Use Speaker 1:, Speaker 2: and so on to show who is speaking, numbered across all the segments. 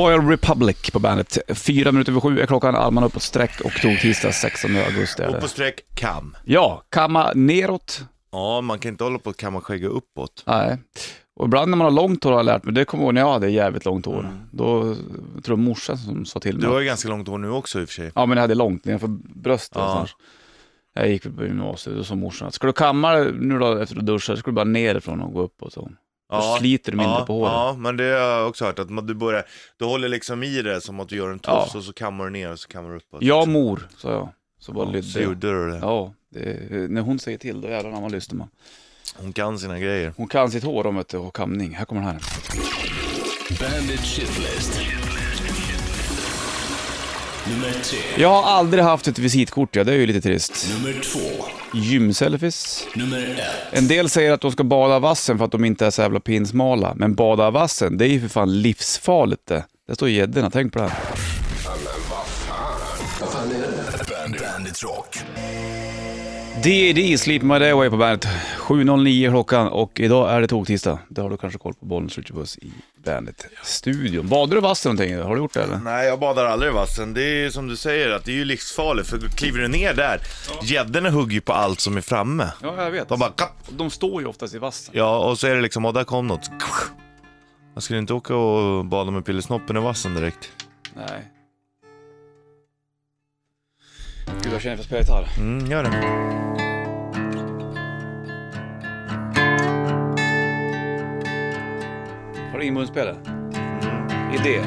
Speaker 1: Royal Republic på bandet. Fyra minuter över sju är klockan, armarna uppåt sträck och tog tisdag 16 augusti. är
Speaker 2: Upp
Speaker 1: det.
Speaker 2: och sträck, kam.
Speaker 1: Ja, kamma neråt.
Speaker 2: Ja, man kan inte hålla på att kamma skägget uppåt.
Speaker 1: Nej. Och ibland när man har långt hår har jag lärt mig, det kommer jag ihåg när jag hade jävligt långt hår. Då tror jag det var morsan som sa till
Speaker 2: Mm. Du
Speaker 1: mig.
Speaker 2: har ju ganska långt hår nu också i och för sig.
Speaker 1: Ja men jag hade långt nedanför bröstet
Speaker 2: Ja.
Speaker 1: någonstans. Jag gick på gymnasiet och så morsan att, ska du kamma dig nu då efter du duschar, så ska du bara nerifrån och gå uppåt. Så. Då sliter du mindre
Speaker 2: ja,
Speaker 1: på håret.
Speaker 2: Ja, men det har jag också hört. Att man- du, börjar, du håller liksom i det som att du gör en tofs
Speaker 1: Ja.
Speaker 2: och så kammar du ner och så kammar du uppåt.
Speaker 1: Ja mor, sa jag. Så bara
Speaker 2: Ja, så
Speaker 1: lydde jag.
Speaker 2: gjorde du det.
Speaker 1: Ja, det, när hon säger till då jävlar anamma lyssnar man.
Speaker 2: Hon kan sina grejer.
Speaker 1: Hon kan sitt hår om vet du, och kamning. Här kommer den här.
Speaker 3: Bandit Shitlist. Nummer tre.
Speaker 1: Jag har aldrig haft ett visitkort, ja det är ju lite trist.
Speaker 3: Nummer två.
Speaker 1: Gymselfies.
Speaker 3: Nummer ett.
Speaker 1: En del säger att de ska bada av vassen för att de inte är så jävla pinsmala. Men bada av vassen, det är ju för fan livsfarligt det. Där står gäddorna, tänk på det här.
Speaker 3: Bandit, Bandit Rock.
Speaker 1: D.E.D. Sleep My Day Away på bandet. 7.09 klockan och idag är det toktisdag. Det har du kanske koll på, Bollnäs Ritchie Puss i bandet-studion. Badar du vassen någonting? Har du gjort det eller?
Speaker 2: Nej, jag badar aldrig i vassen. Det är ju som du säger, att det är ju livsfarligt. För kliver du ner där, gäddorna hugger ju på allt som är framme.
Speaker 1: Ja, jag vet.
Speaker 2: De bara kapp.
Speaker 1: De står ju oftast i vassen.
Speaker 2: Ja, och så är det liksom, och där kom något. Jag skulle inte åka och bada med pillesnoppen i vassen direkt.
Speaker 1: Nej. Gud, jag känner för att spela gitarr.
Speaker 2: Mm, gör det.
Speaker 1: Har du ingen munspel? Idé.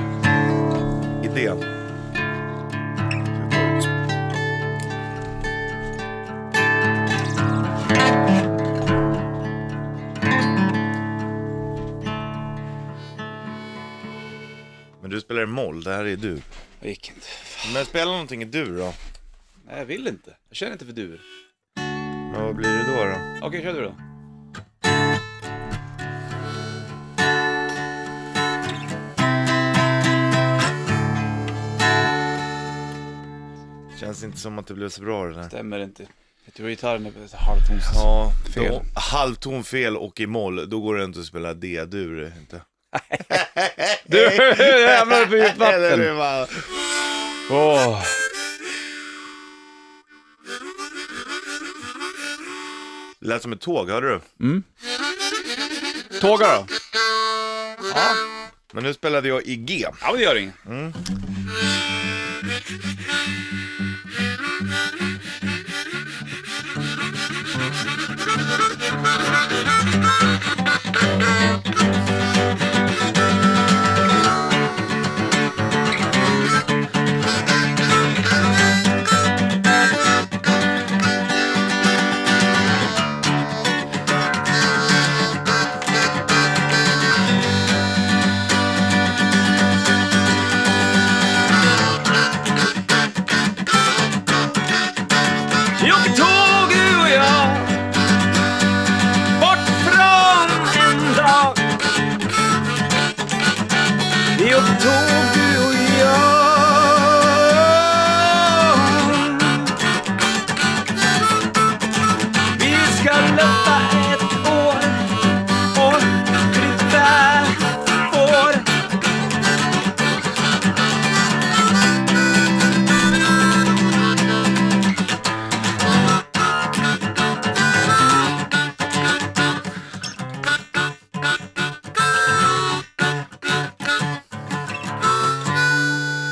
Speaker 2: Idé. Men du spelar i moll, det här är dur.
Speaker 1: Det gick inte.
Speaker 2: Men spela någonting i dur då.
Speaker 1: Nej, jag vill inte. Jag känner inte för dur.
Speaker 2: Ja, vad blir det då? då?
Speaker 1: Okej, kör du då.
Speaker 2: Känns inte som att det blev så bra det där.
Speaker 1: Stämmer inte. Jag tror gitarren är halvtom.
Speaker 2: Ja,
Speaker 1: Fel.
Speaker 2: Då, halvton fel och i moll, då går det inte att spela D-dur. Inte.
Speaker 1: Du, jävlar för djupt
Speaker 2: Eller
Speaker 1: vatten.
Speaker 2: hur, va?
Speaker 1: Åh.
Speaker 2: Det lät som ett tåg, hörde du?
Speaker 1: Tåga då? Ja.
Speaker 2: Men nu spelade jag i G.
Speaker 1: ja, men det gör inget. Vi åker tåg du och jag Bort från en dag Vi åker tåg du och jag Vi ska löpa ett år År, fritt där, år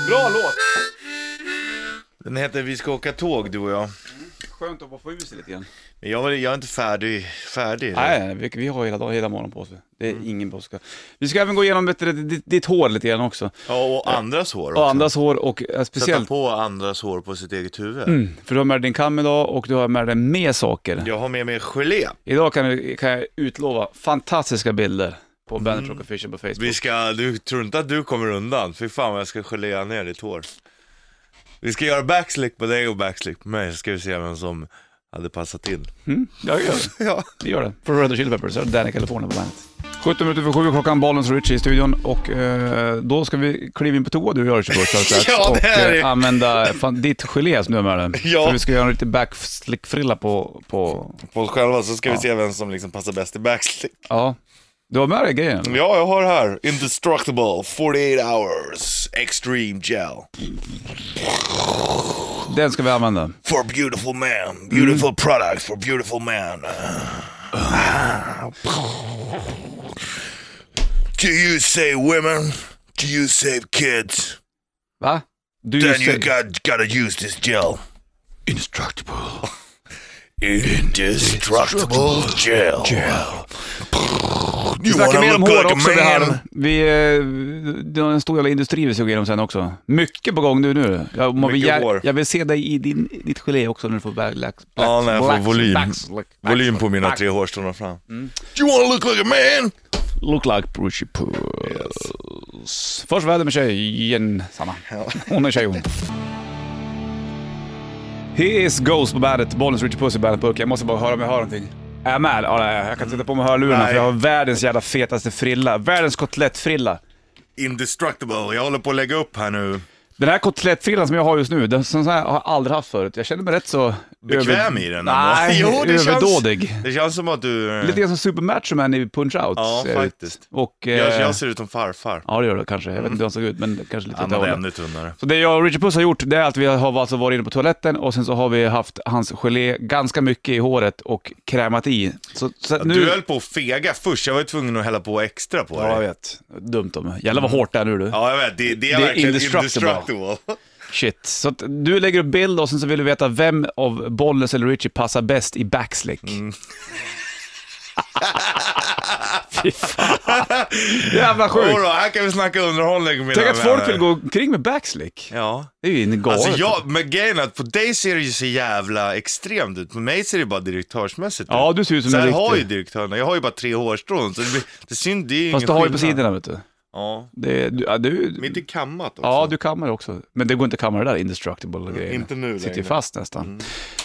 Speaker 1: Bra låt!
Speaker 2: Den heter Vi ska åka tåg, du och jag.
Speaker 1: Skönt att få ur sig lite grann.
Speaker 2: Men jag, var- jag är inte färdig. färdig
Speaker 1: Nej, vi, vi har hela, dag, hela morgonen på oss. Det är
Speaker 2: Mm.
Speaker 1: ingen brådska. Vi ska även gå igenom vet du, ditt, ditt hår lite grann också.
Speaker 2: Ja, och andras hår också.
Speaker 1: Och andras hår och eh,
Speaker 2: Sätta
Speaker 1: speciellt, Mm.
Speaker 2: på andras hår på sitt eget huvud.
Speaker 1: för du har med dig din kam idag och du har med dig mer saker.
Speaker 2: Jag har med mig gelé.
Speaker 1: Idag kan, du- kan jag utlova fantastiska bilder på Bandit Rock Official på Facebook.
Speaker 2: Mm. Vi ska, du tror inte att du kommer undan? Fy fan vad jag ska gelea ner ditt hår. Vi ska göra backslick på dig och backslick på mig, så ska vi se vem som hade passat in.
Speaker 1: Mm, jag gör det.
Speaker 2: Ja.
Speaker 1: Vi gör det. För Red Hot Chili Peppers, så är det Danny California på bandet. 17 minuter för sju, klockan Bollens Richie i studion och eh, då ska vi kliva in på toa du och jag strax
Speaker 2: Ja,
Speaker 1: och
Speaker 2: det här är-
Speaker 1: eh, använda fan, ditt gelé som du har med dig.
Speaker 2: Ja.
Speaker 1: För vi ska göra en liten backslick-frilla på, på,
Speaker 2: På oss själva, så ska vi se vem som liksom passar bäst i backslick.
Speaker 1: ja. Du har med dig grejen?
Speaker 2: Ja, jag har här. Indestructible 48 hours extreme gel.
Speaker 1: Den ska vi använda.
Speaker 2: For beautiful man. Beautiful products for beautiful man. Uh, Do you save women? Do you save kids?
Speaker 1: Va? Du
Speaker 2: Then you
Speaker 1: säger-
Speaker 2: got, gotta use this gel.
Speaker 3: Indestructible.
Speaker 2: Indestructible gel.
Speaker 1: Vi
Speaker 2: You
Speaker 1: snackar
Speaker 2: wanna
Speaker 1: mer om
Speaker 2: look
Speaker 1: hår
Speaker 2: like a
Speaker 1: också. Vi har,
Speaker 2: man?
Speaker 1: vi, eh, det har en stor jävla industri vi ska gå igenom sen också. Mycket på gång nu. nu. Jag, man vill,
Speaker 2: Mycket
Speaker 1: jag,
Speaker 2: hår.
Speaker 1: jag vill se dig i din, ditt gelé också när du får black, black,
Speaker 2: Ja, när jag får
Speaker 1: black-
Speaker 2: volym.
Speaker 1: black- black-
Speaker 2: Volym på mina
Speaker 1: black-
Speaker 2: tre hårstrån fram. Do you wanna look like a man?
Speaker 1: Look like Brucey Puss. Först väder med tjejen, Sanna. Hon är tjej hon. His Ghost på bandet, Bollens Richie Puss i bandet Jag måste bara höra om jag hör någonting. Är jag med? Ja, nej, jag kan sätta på mig hörlurarna
Speaker 2: Nej.
Speaker 1: för jag har världens jävla fetaste frilla. Världens kotlettfrilla.
Speaker 2: Indestructible. Jag håller på att lägga upp här nu.
Speaker 1: Den här kotlettfrillan som jag har just nu, den sån här har jag aldrig haft förut. Jag känner mig rätt så...
Speaker 2: Bekväm i den ändå.
Speaker 1: Nej,
Speaker 2: Jo, det känns-
Speaker 1: överdådig.
Speaker 2: Det känns som att du... eh,
Speaker 1: Lite grann som Supermatchman i Punch-Out.
Speaker 2: Ja,
Speaker 1: ser ut.
Speaker 2: faktiskt.
Speaker 1: Och... Eh,
Speaker 2: Jag, jag ser ut som farfar.
Speaker 1: Ja, det gör det kanske.
Speaker 2: Mm.
Speaker 1: Jag vet inte hur han såg ut, men kanske lite åt
Speaker 2: Han
Speaker 1: det
Speaker 2: hade
Speaker 1: hållet.
Speaker 2: ännu tunnare.
Speaker 1: Så det jag och Richard Puss har gjort, det är att vi har alltså varit inne på toaletten och sen så har vi haft hans gelé ganska mycket i håret och krämat i. Så, så att nu...
Speaker 2: Du höll på att fega först, jag var ju tvungen att hälla på extra på
Speaker 1: Ja, jag
Speaker 2: dig.
Speaker 1: vet. Dumt om mig. Jävlar vad hårt det är nu du.
Speaker 2: Ja, jag vet. Det, det är
Speaker 1: Det är
Speaker 2: verkligen
Speaker 1: indestructible.
Speaker 2: indestructible.
Speaker 1: Shit. Så att du lägger upp bild och sen så vill du veta vem av Bollnäs eller Richie passar bäst i backslick.
Speaker 2: Mm.
Speaker 1: Fy fan. Jävla
Speaker 2: Oh,
Speaker 1: sjukt.
Speaker 2: då, här kan vi snacka underhållning mina
Speaker 1: Tänk att
Speaker 2: vänner.
Speaker 1: folk vill gå omkring med backslick.
Speaker 2: Ja.
Speaker 1: Det är ju en galet.
Speaker 2: Alltså jag, men grejen är att på dig ser det ju så jävla extremt ut, på mig ser det bara direktörsmässigt
Speaker 1: Ja,
Speaker 2: ut.
Speaker 1: du ser ut som
Speaker 2: så
Speaker 1: en
Speaker 2: här har ju
Speaker 1: riktig...
Speaker 2: direktörerna, jag har ju bara tre hårstrån så det, blir, det syns, det är ju
Speaker 1: Fast du
Speaker 2: ingen
Speaker 1: har ju på
Speaker 2: skillnad.
Speaker 1: sidorna vet du.
Speaker 2: Ja,
Speaker 1: Det, du, ja, du
Speaker 2: mitt är kammat också.
Speaker 1: Ja, du kammar också. Men det går inte att kamma det där indestructible och grejer.
Speaker 2: Mm, inte nu
Speaker 1: Sitter ju
Speaker 2: längre. Mm.
Speaker 1: fast nästan.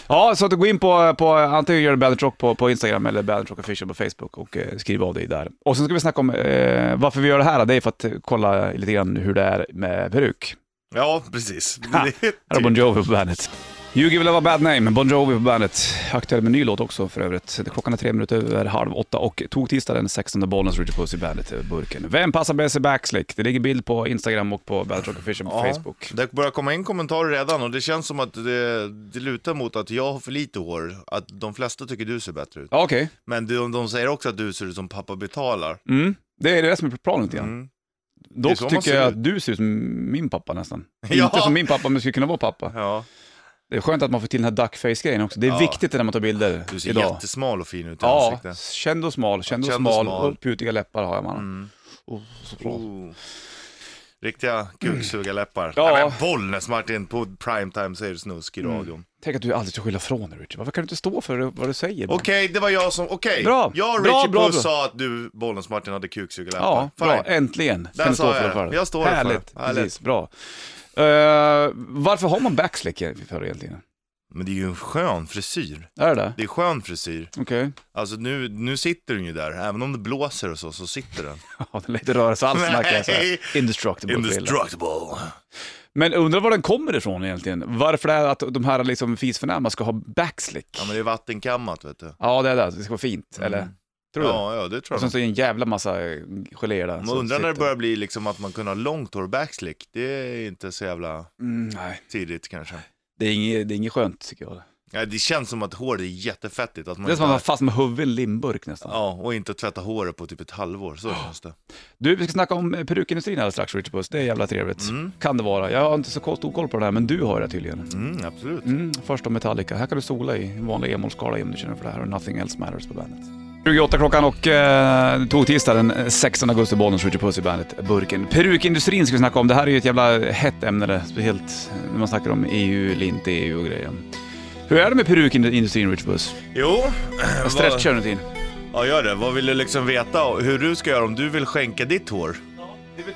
Speaker 1: Ja, så att gå in på, på antingen gör du Bandit Rock på, på Instagram eller Bandit Rock Official på Facebook och eh, skriv av dig där. Och sen ska vi snacka om eh, varför vi gör det här. Det är för att eh, kolla lite grann hur det är med peruk.
Speaker 2: Ja, precis.
Speaker 1: Ha,
Speaker 2: Det är
Speaker 1: Här har
Speaker 2: typ-
Speaker 1: Bon Jovi på bandet. You give love a bad name, Bon Jovi på bandet. Aktuell med ny låt också för övrigt. Klockan är tre minuter över halv åtta och tog tisdag den 16 Bollnäs Richard Puss i bandet över burken. Vem passar bäst i backslick? Det ligger bild på Instagram och på Bandit Rock Official på
Speaker 2: Ja,
Speaker 1: Facebook.
Speaker 2: Det börjar komma in kommentarer redan och det känns som att det, det lutar mot att jag har för lite hår. Att de flesta tycker du ser bättre ut.
Speaker 1: Ja, Okej,
Speaker 2: Men de, de säger också att du ser ut som pappa betalar.
Speaker 1: mm. det är det som är planen lite grann.
Speaker 2: Mm.
Speaker 1: Dock
Speaker 2: så man
Speaker 1: tycker
Speaker 2: ser
Speaker 1: jag
Speaker 2: ut.
Speaker 1: att du ser ut som min pappa nästan.
Speaker 2: Ja.
Speaker 1: Inte som min pappa, men skulle kunna vara pappa.
Speaker 2: Ja,
Speaker 1: Det är skönt att man får till den här duckface-grejen också. Det är
Speaker 2: Ja.
Speaker 1: viktigt när man tar bilder
Speaker 2: du ser
Speaker 1: idag.
Speaker 2: jättesmal och fin ut i
Speaker 1: Ja,
Speaker 2: ansiktet.
Speaker 1: känd och smal, känd och
Speaker 2: Känd och
Speaker 1: smal
Speaker 2: smal.
Speaker 1: och putiga läppar har jag man.
Speaker 2: Mm.
Speaker 1: Oh, så bra.
Speaker 2: Oh. Riktiga kuksugarläppar.
Speaker 1: Ja. Mm.
Speaker 2: Ja. men Bollnäs-Martin på primetime säger snusk i radion.
Speaker 1: Tänk att du alltid ska skylla från dig Richard. Varför kan du inte stå för vad du säger?
Speaker 2: Okej, det var jag som... Okej,
Speaker 1: Bra.
Speaker 2: jag och
Speaker 1: Bra,
Speaker 2: Richard
Speaker 1: bra,
Speaker 2: Puss
Speaker 1: bra.
Speaker 2: sa att du, Bollnäs-Martin, hade kuksugarläppar.
Speaker 1: Ja, bra.
Speaker 2: Fine.
Speaker 1: Äntligen.
Speaker 2: Där
Speaker 1: kan du
Speaker 2: sa
Speaker 1: stå
Speaker 2: jag
Speaker 1: för det
Speaker 2: det.
Speaker 1: för
Speaker 2: Jag står för det.
Speaker 1: Härligt.
Speaker 2: Härligt.
Speaker 1: Precis, bra. Eh, varför har man backslick för egentligen?
Speaker 2: Men det är ju en skön frisyr.
Speaker 1: Är det det?
Speaker 2: Det är skön frisyr.
Speaker 1: Okej.
Speaker 2: Alltså nu, nu sitter den ju där, även om det blåser och så, så sitter den.
Speaker 1: Ja, det är lite rörelse alls snackar jag så här.
Speaker 2: Nej.
Speaker 1: Indestructible. Indestructible.
Speaker 2: Indestructible.
Speaker 1: Men undrar var den kommer ifrån egentligen? Varför det är att de här liksom fisförnäma ska ha backslick?
Speaker 2: Ja men det är vattenkammat vet du.
Speaker 1: Ja, det är det. Det ska vara fint, eller? Tror du det?
Speaker 2: Ja, ja det tror
Speaker 1: Och sen
Speaker 2: jag.
Speaker 1: så är det en jävla massa eh, geléer där.
Speaker 2: Man
Speaker 1: som
Speaker 2: undrar när det
Speaker 1: sitter.
Speaker 2: börjar bli liksom att man kunde ha långt hår backslick. Det är inte så jävla
Speaker 1: Mm, nej,
Speaker 2: tidigt kanske.
Speaker 1: det är, inget, det är inget skönt tycker jag.
Speaker 2: Ja, det känns som att hår är jättefettigt. Att man
Speaker 1: Det är som att man
Speaker 2: inte
Speaker 1: var fast med huvudet i en limburk nästan.
Speaker 2: Ja, och inte tvätta håret på typ ett halvår. Så
Speaker 1: Ah.
Speaker 2: känns det.
Speaker 1: Du, vi ska snacka om eh, perukindustrin alldeles strax, Richard Puss. Det är jävla trevligt. Kan det vara. Jag har inte så stor koll på det här, men du har det tydligen.
Speaker 2: Mm, absolut.
Speaker 1: Mm, först om Metallica. Här kan du sola i en vanlig emolskala om du känner för det här och Nothing Else Matters på bandet. 28 klockan och eh, tog tisdag den 16 augusti, Bollnäs Richard Puss i bandet Burken. Perukindustrin ska vi snacka om. Det här är ju ett jävla hett ämne, det. speciellt när man snackar om EU eller inte EU och grejen. Hur är det med perukindustrin Richard Puss?
Speaker 2: Jo. vad-
Speaker 1: Stretchar du inte in?
Speaker 2: Ja, gör det. Vad vill du liksom veta hur du ska göra om du vill skänka ditt hår?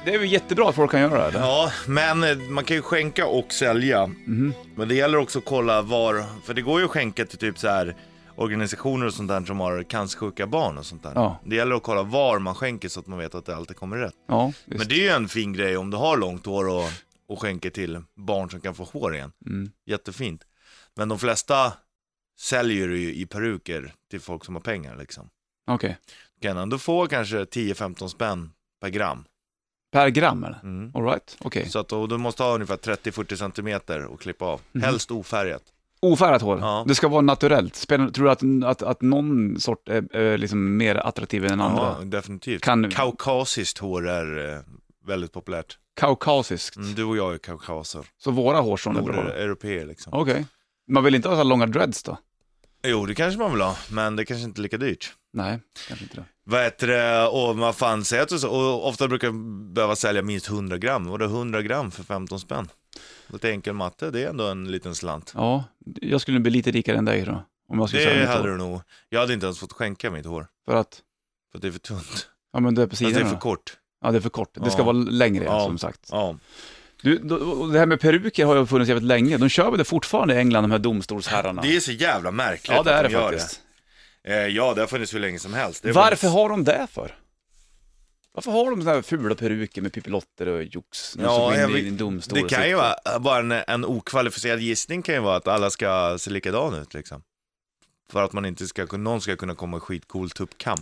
Speaker 1: Det är väl jättebra att folk kan göra det? eller?
Speaker 2: Ja, men eh, man kan ju skänka och sälja.
Speaker 1: Mhm.
Speaker 2: Men det gäller också att kolla var, för det går ju att skänka till typ så här organisationer och sånt där som har cancersjuka barn och sånt där.
Speaker 1: Ja.
Speaker 2: Det gäller att kolla var man skänker så att man vet att det alltid kommer rätt.
Speaker 1: Ja, just.
Speaker 2: Men det är ju en fin grej om du har långt hår och, och skänker till barn som kan få hår igen.
Speaker 1: Mm.
Speaker 2: Jättefint. Men de flesta säljer du ju i peruker till folk som har pengar liksom.
Speaker 1: Okej.
Speaker 2: Kan ändå få kanske 10-15 spänn per gram.
Speaker 1: Per gram eller?
Speaker 2: Mm.
Speaker 1: Alright, okej.
Speaker 2: Så att, och du måste ha ungefär 30-40 centimeter och klippa av.
Speaker 1: Mhm.
Speaker 2: Helst ofärgat.
Speaker 1: Ofärgat hår.
Speaker 2: Ja.
Speaker 1: Det ska vara naturellt. Spelar, tror du att, att, att någon sort är, är liksom mer attraktiv än andra?
Speaker 2: Ja, definitivt.
Speaker 1: Kan-
Speaker 2: Kaukasiskt hår är eh, väldigt populärt.
Speaker 1: Kaukasiskt.
Speaker 2: Mm, du och jag är kaukaser.
Speaker 1: Så våra hårstrån är bra.
Speaker 2: Nordeuropeer
Speaker 1: Okej.
Speaker 2: liksom.
Speaker 1: Man vill inte ha så här långa dreads då?
Speaker 2: Jo, det kanske man vill ha, men det kanske inte är lika dyrt.
Speaker 1: Nej, kanske inte det.
Speaker 2: Vad heter det, och vad fan säger jag till så? Och ofta brukar jag behöva sälja minst 100 gram. Var det 100 gram för 15 spänn? Lite enkel matte, det är ändå en liten slant.
Speaker 1: Ja, jag skulle bli lite rikare än dig då. Om jag skulle sälja
Speaker 2: Det
Speaker 1: mitt
Speaker 2: hade
Speaker 1: hår.
Speaker 2: du nog. Jag hade inte ens fått skänka mitt hår,
Speaker 1: För att,
Speaker 2: för att det är för tunt.
Speaker 1: ja men det är på
Speaker 2: Fast det
Speaker 1: sidorna.
Speaker 2: är för kort.
Speaker 1: Ja, det är för kort. Det ska
Speaker 2: Ja.
Speaker 1: vara längre
Speaker 2: Ja.
Speaker 1: som sagt.
Speaker 2: Ja.
Speaker 1: Du, då- och det här med peruker har ju funnits jävligt länge. De kör väl det fortfarande i England, de här domstolsherrarna?
Speaker 2: Det är så jävla märkligt
Speaker 1: ja, det är
Speaker 2: att
Speaker 1: det
Speaker 2: de gör
Speaker 1: faktiskt.
Speaker 2: det. Eh, Ja, det har funnits hur länge som helst. Det har
Speaker 1: Varför
Speaker 2: funnits-
Speaker 1: har de det för? Varför har de sådana här fula peruker med pipilotter och jox?
Speaker 2: Ja,
Speaker 1: Ja,
Speaker 2: jag
Speaker 1: jag
Speaker 2: vet-
Speaker 1: i en domstol
Speaker 2: Det
Speaker 1: och
Speaker 2: kan ju
Speaker 1: sitter?
Speaker 2: vara, bara en, en okvalificerad gissning kan ju vara att alla ska se likadana ut liksom. För att man inte ska, någon ska kunna komma i skitcool tuppkam.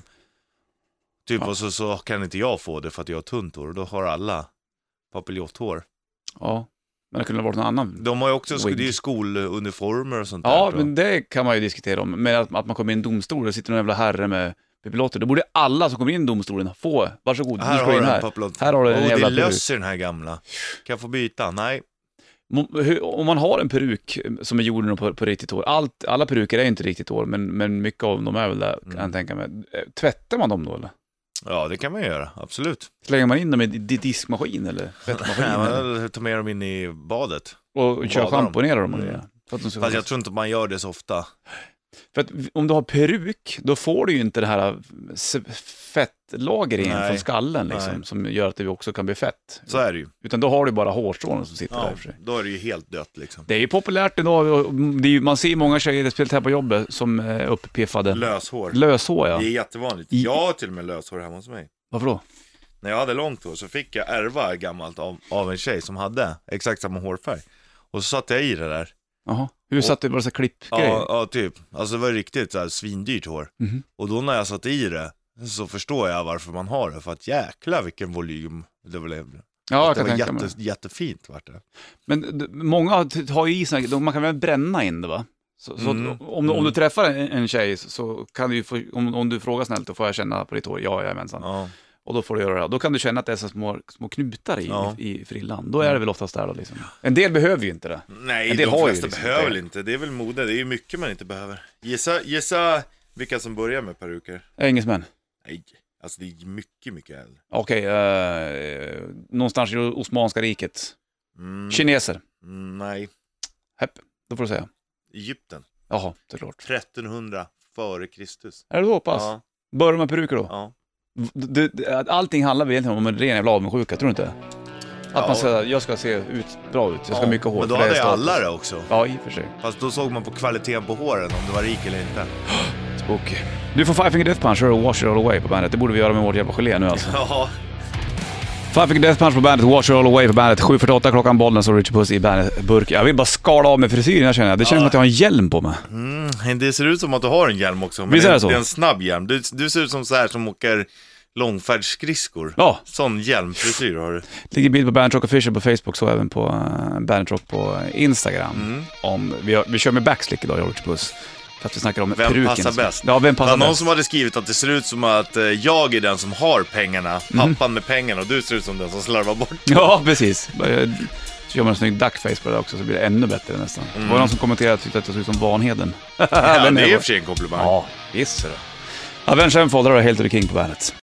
Speaker 2: Typ
Speaker 1: Ja.
Speaker 2: och så, så kan inte jag få det för att jag har tunt hår och då har alla papiljonthår.
Speaker 1: Ja, men det kunde ha varit någon annan.
Speaker 2: De har ju också,
Speaker 1: Wig.
Speaker 2: det är ju skoluniformer och sånt
Speaker 1: Ja,
Speaker 2: där.
Speaker 1: men det kan man ju diskutera om. Men att, att man kommer in i en domstol och sitter någon jävla herre med pipilotter, då borde alla som kommer in i domstolen få, varsågod, du
Speaker 2: här
Speaker 1: ska
Speaker 2: har
Speaker 1: in
Speaker 2: du en
Speaker 1: här.
Speaker 2: papillott.
Speaker 1: Här har du en
Speaker 2: oh,
Speaker 1: jävla
Speaker 2: det
Speaker 1: peruk.
Speaker 2: löser den här gamla. Kan jag få byta? Nej.
Speaker 1: Mo- hur- Om man har en peruk som är gjord nu på, på riktigt hår, Allt, alla peruker är ju inte riktigt hår, men, men mycket av dem är väl det, kan jag
Speaker 2: Mm.
Speaker 1: tänka mig. Eh, Tvättar man dem då eller?
Speaker 2: Ja, det kan man göra, absolut.
Speaker 1: Slänger man in dem i di- di- diskmaskin eller tvättmaskin?
Speaker 2: Nej,
Speaker 1: eller?
Speaker 2: men Ta med dem in i badet.
Speaker 1: Och kör
Speaker 2: badar
Speaker 1: schamponera dem och
Speaker 2: Mm.
Speaker 1: det. För att, de ska
Speaker 2: Fast jag tror inte man gör det så ofta.
Speaker 1: för att v- om du har peruk, då får du ju inte det här äh, s- fettlager igen
Speaker 2: Nej.
Speaker 1: från skallen liksom,
Speaker 2: Nej.
Speaker 1: som gör att det också kan bli fett.
Speaker 2: Så är det ju.
Speaker 1: Utan då har du bara hårstrån som sitter där.
Speaker 2: Ja,
Speaker 1: i och för sig.
Speaker 2: då är det ju helt dött liksom.
Speaker 1: Det är ju populärt idag, och det är, ju- man ser ju många tjejer, speciellt här på jobbet, som är uppiffade.
Speaker 2: Löshår.
Speaker 1: Löshår ja.
Speaker 2: Det är jättevanligt.
Speaker 1: I-
Speaker 2: Jag har till och med löshår hemma hos mig.
Speaker 1: Varför då?
Speaker 2: När jag hade långt hår så fick jag ärva gammalt av, av en tjej som hade exakt samma hårfärg. Och så satte jag i det där.
Speaker 1: Jaha. Hur satt det bara så här klippgrejer?
Speaker 2: Ja, ja, typ. Alltså det var riktigt så här, svindyrt hår.
Speaker 1: Mhm.
Speaker 2: Och då när jag satte i det så förstår jag varför man har det. För att jäkla vilken volym det blev.
Speaker 1: Ja, jag
Speaker 2: det
Speaker 1: kan
Speaker 2: var
Speaker 1: tänka
Speaker 2: jätte,
Speaker 1: mig.
Speaker 2: jättefint vart det.
Speaker 1: Men d- många har t- har ju i såna, de- man kan väl bränna in det va? Så, så
Speaker 2: Mm.
Speaker 1: att om, om du träffar en, en tjej så- så kan du ju få, om, om du frågar snällt, då får jag känna på ditt hår, ja jajamensan.
Speaker 2: Ja.
Speaker 1: Och då får du göra det. Då kan du känna att det är så små, små knutar i,
Speaker 2: Ja. Mm.
Speaker 1: i, i frillan. Då är det väl oftast där då liksom. En del behöver ju inte det.
Speaker 2: Nej,
Speaker 1: Men det
Speaker 2: de
Speaker 1: har ju
Speaker 2: flesta
Speaker 1: liksom
Speaker 2: behöver
Speaker 1: det.
Speaker 2: inte. Det är väl mode. Det är ju mycket man inte behöver. Gissa, gissa vilka som börjar med peruker.
Speaker 1: Engelsmän.
Speaker 2: Nej, alltså det är mycket, mycket äldre.
Speaker 1: Okej, eh, någonstans i Osmanska riket.
Speaker 2: Mm,
Speaker 1: Kineser.
Speaker 2: mm, nej,
Speaker 1: Hepp, då får du säga.
Speaker 2: Egypten.
Speaker 1: Jaha, såklart.
Speaker 2: 1300 före Kristus.
Speaker 1: Är det då pass?
Speaker 2: Ja,
Speaker 1: Börjar med peruker då?
Speaker 2: ja.
Speaker 1: Du, du, att allting handlar väl egentligen om en ren jävla avundsjuka, tror du inte? Att
Speaker 2: Ja.
Speaker 1: man säger jag ska se ut, bra ut, jag ska ha
Speaker 2: ja.
Speaker 1: mycket hår.
Speaker 2: Men då
Speaker 1: för det
Speaker 2: hade
Speaker 1: är
Speaker 2: ju
Speaker 1: status.
Speaker 2: alla det också.
Speaker 1: Ja, i och för sig.
Speaker 2: Fast då såg man på kvaliteten på håren om du var rik eller inte.
Speaker 1: Spooky. Du får Five Finger Death Punch, och Wash It All Away på bandet. Det borde vi göra med vårt jävla gelé nu alltså.
Speaker 2: Ja,
Speaker 1: Five Finger Death Punch på bandet, Wash It All Away på bandet. 7.48 klockan, Bollnäs och Richard Puss i bandet burk. Jag vill bara skala av mig frisyren här känner jag. Det känns som att jag har en hjälm på mig.
Speaker 2: mm, det ser ut som att du har en hjälm också. Men
Speaker 1: Visst är
Speaker 2: det,
Speaker 1: det så?
Speaker 2: Det är en snabb hjälm. Du, du ser ut som så här som åker långfärdsskridskor.
Speaker 1: Ja,
Speaker 2: Sån hjälmfrisyr har du.
Speaker 1: ligger bild på Bandit Rock Official på Facebook, så även på uh, Bandit Rock på Instagram.
Speaker 2: Mm.
Speaker 1: Om, vi, har, vi kör med backslick idag, Richard Puss. För att vi snackar om
Speaker 2: Vem
Speaker 1: peruken.
Speaker 2: passar
Speaker 1: som-
Speaker 2: bäst?
Speaker 1: Ja, vem
Speaker 2: Det
Speaker 1: passar
Speaker 2: var någon
Speaker 1: bäst?
Speaker 2: som hade skrivit att det ser ut som att eh, jag är den som har pengarna, pappan med pengarna och du ser ut som den som slarvar bort.
Speaker 1: Mm. Ja, precis. Så gör man en snygg duckface på det där också så blir det ännu bättre nästan. Det var någon som kommenterade och tyckte att jag såg ut som Vanheden.
Speaker 2: Mm. Ja,
Speaker 1: Den
Speaker 2: det
Speaker 1: är
Speaker 2: är i och
Speaker 1: bra.
Speaker 2: för sig en komplimang.
Speaker 1: Ja, visst är det. Avenge Enfold, där har Helt King på bandet.